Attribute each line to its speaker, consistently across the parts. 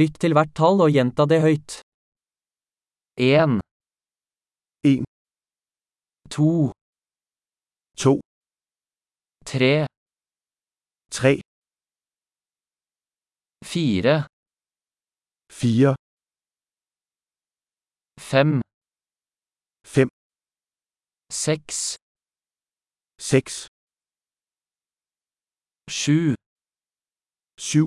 Speaker 1: Lytt til hvert tall og gjenta det høyt. 1,
Speaker 2: En,
Speaker 1: 2,
Speaker 2: to,
Speaker 1: 3,
Speaker 2: tre,
Speaker 1: 4,
Speaker 2: fire,
Speaker 1: 5,
Speaker 2: fem,
Speaker 1: 6,
Speaker 2: seks,
Speaker 1: 7,
Speaker 2: syv,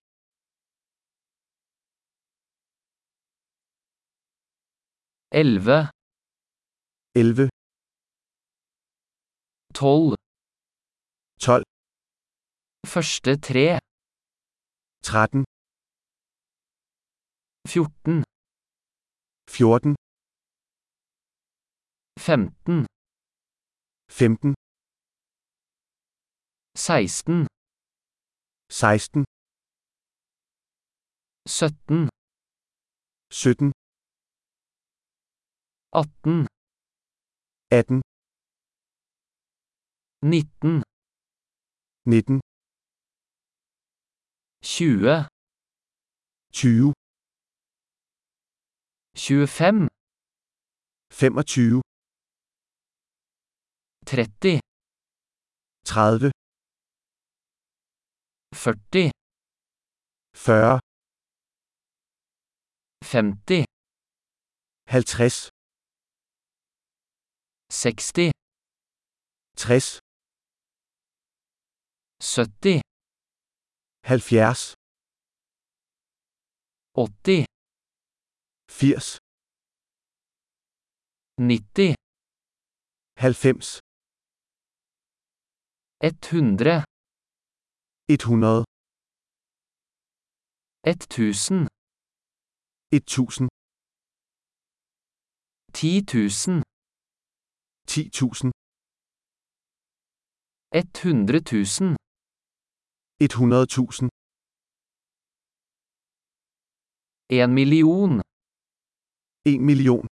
Speaker 1: 11,
Speaker 2: elleve,
Speaker 1: 12,
Speaker 2: tolv,
Speaker 1: første 3,
Speaker 2: tretten,
Speaker 1: 14,
Speaker 2: fjorten,
Speaker 1: 15,
Speaker 2: femten,
Speaker 1: 16,
Speaker 2: seksten,
Speaker 1: 17,
Speaker 2: sytten,
Speaker 1: 18,
Speaker 2: atten,
Speaker 1: 19,
Speaker 2: nitten,
Speaker 1: 20,
Speaker 2: tyve,
Speaker 1: 25,
Speaker 2: femogtyve,
Speaker 1: 30,
Speaker 2: tredive,
Speaker 1: 40,
Speaker 2: fyrre,
Speaker 1: 50,
Speaker 2: halvtreds,
Speaker 1: 60,
Speaker 2: tres,
Speaker 1: 70,
Speaker 2: halvfjerds,
Speaker 1: 80,
Speaker 2: firs,
Speaker 1: 90,
Speaker 2: halvfems,
Speaker 1: 100,
Speaker 2: et hundrede,
Speaker 1: 1000,
Speaker 2: et tusind,
Speaker 1: 10 000,
Speaker 2: ti tusind,
Speaker 1: 100 000,
Speaker 2: et hundrede tusind,
Speaker 1: 1 million.
Speaker 2: en million.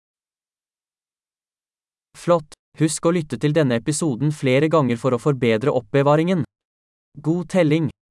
Speaker 1: Flott! Husk å lytte til denne episoden flere ganger for å forbedre oppbevaringen. God telling!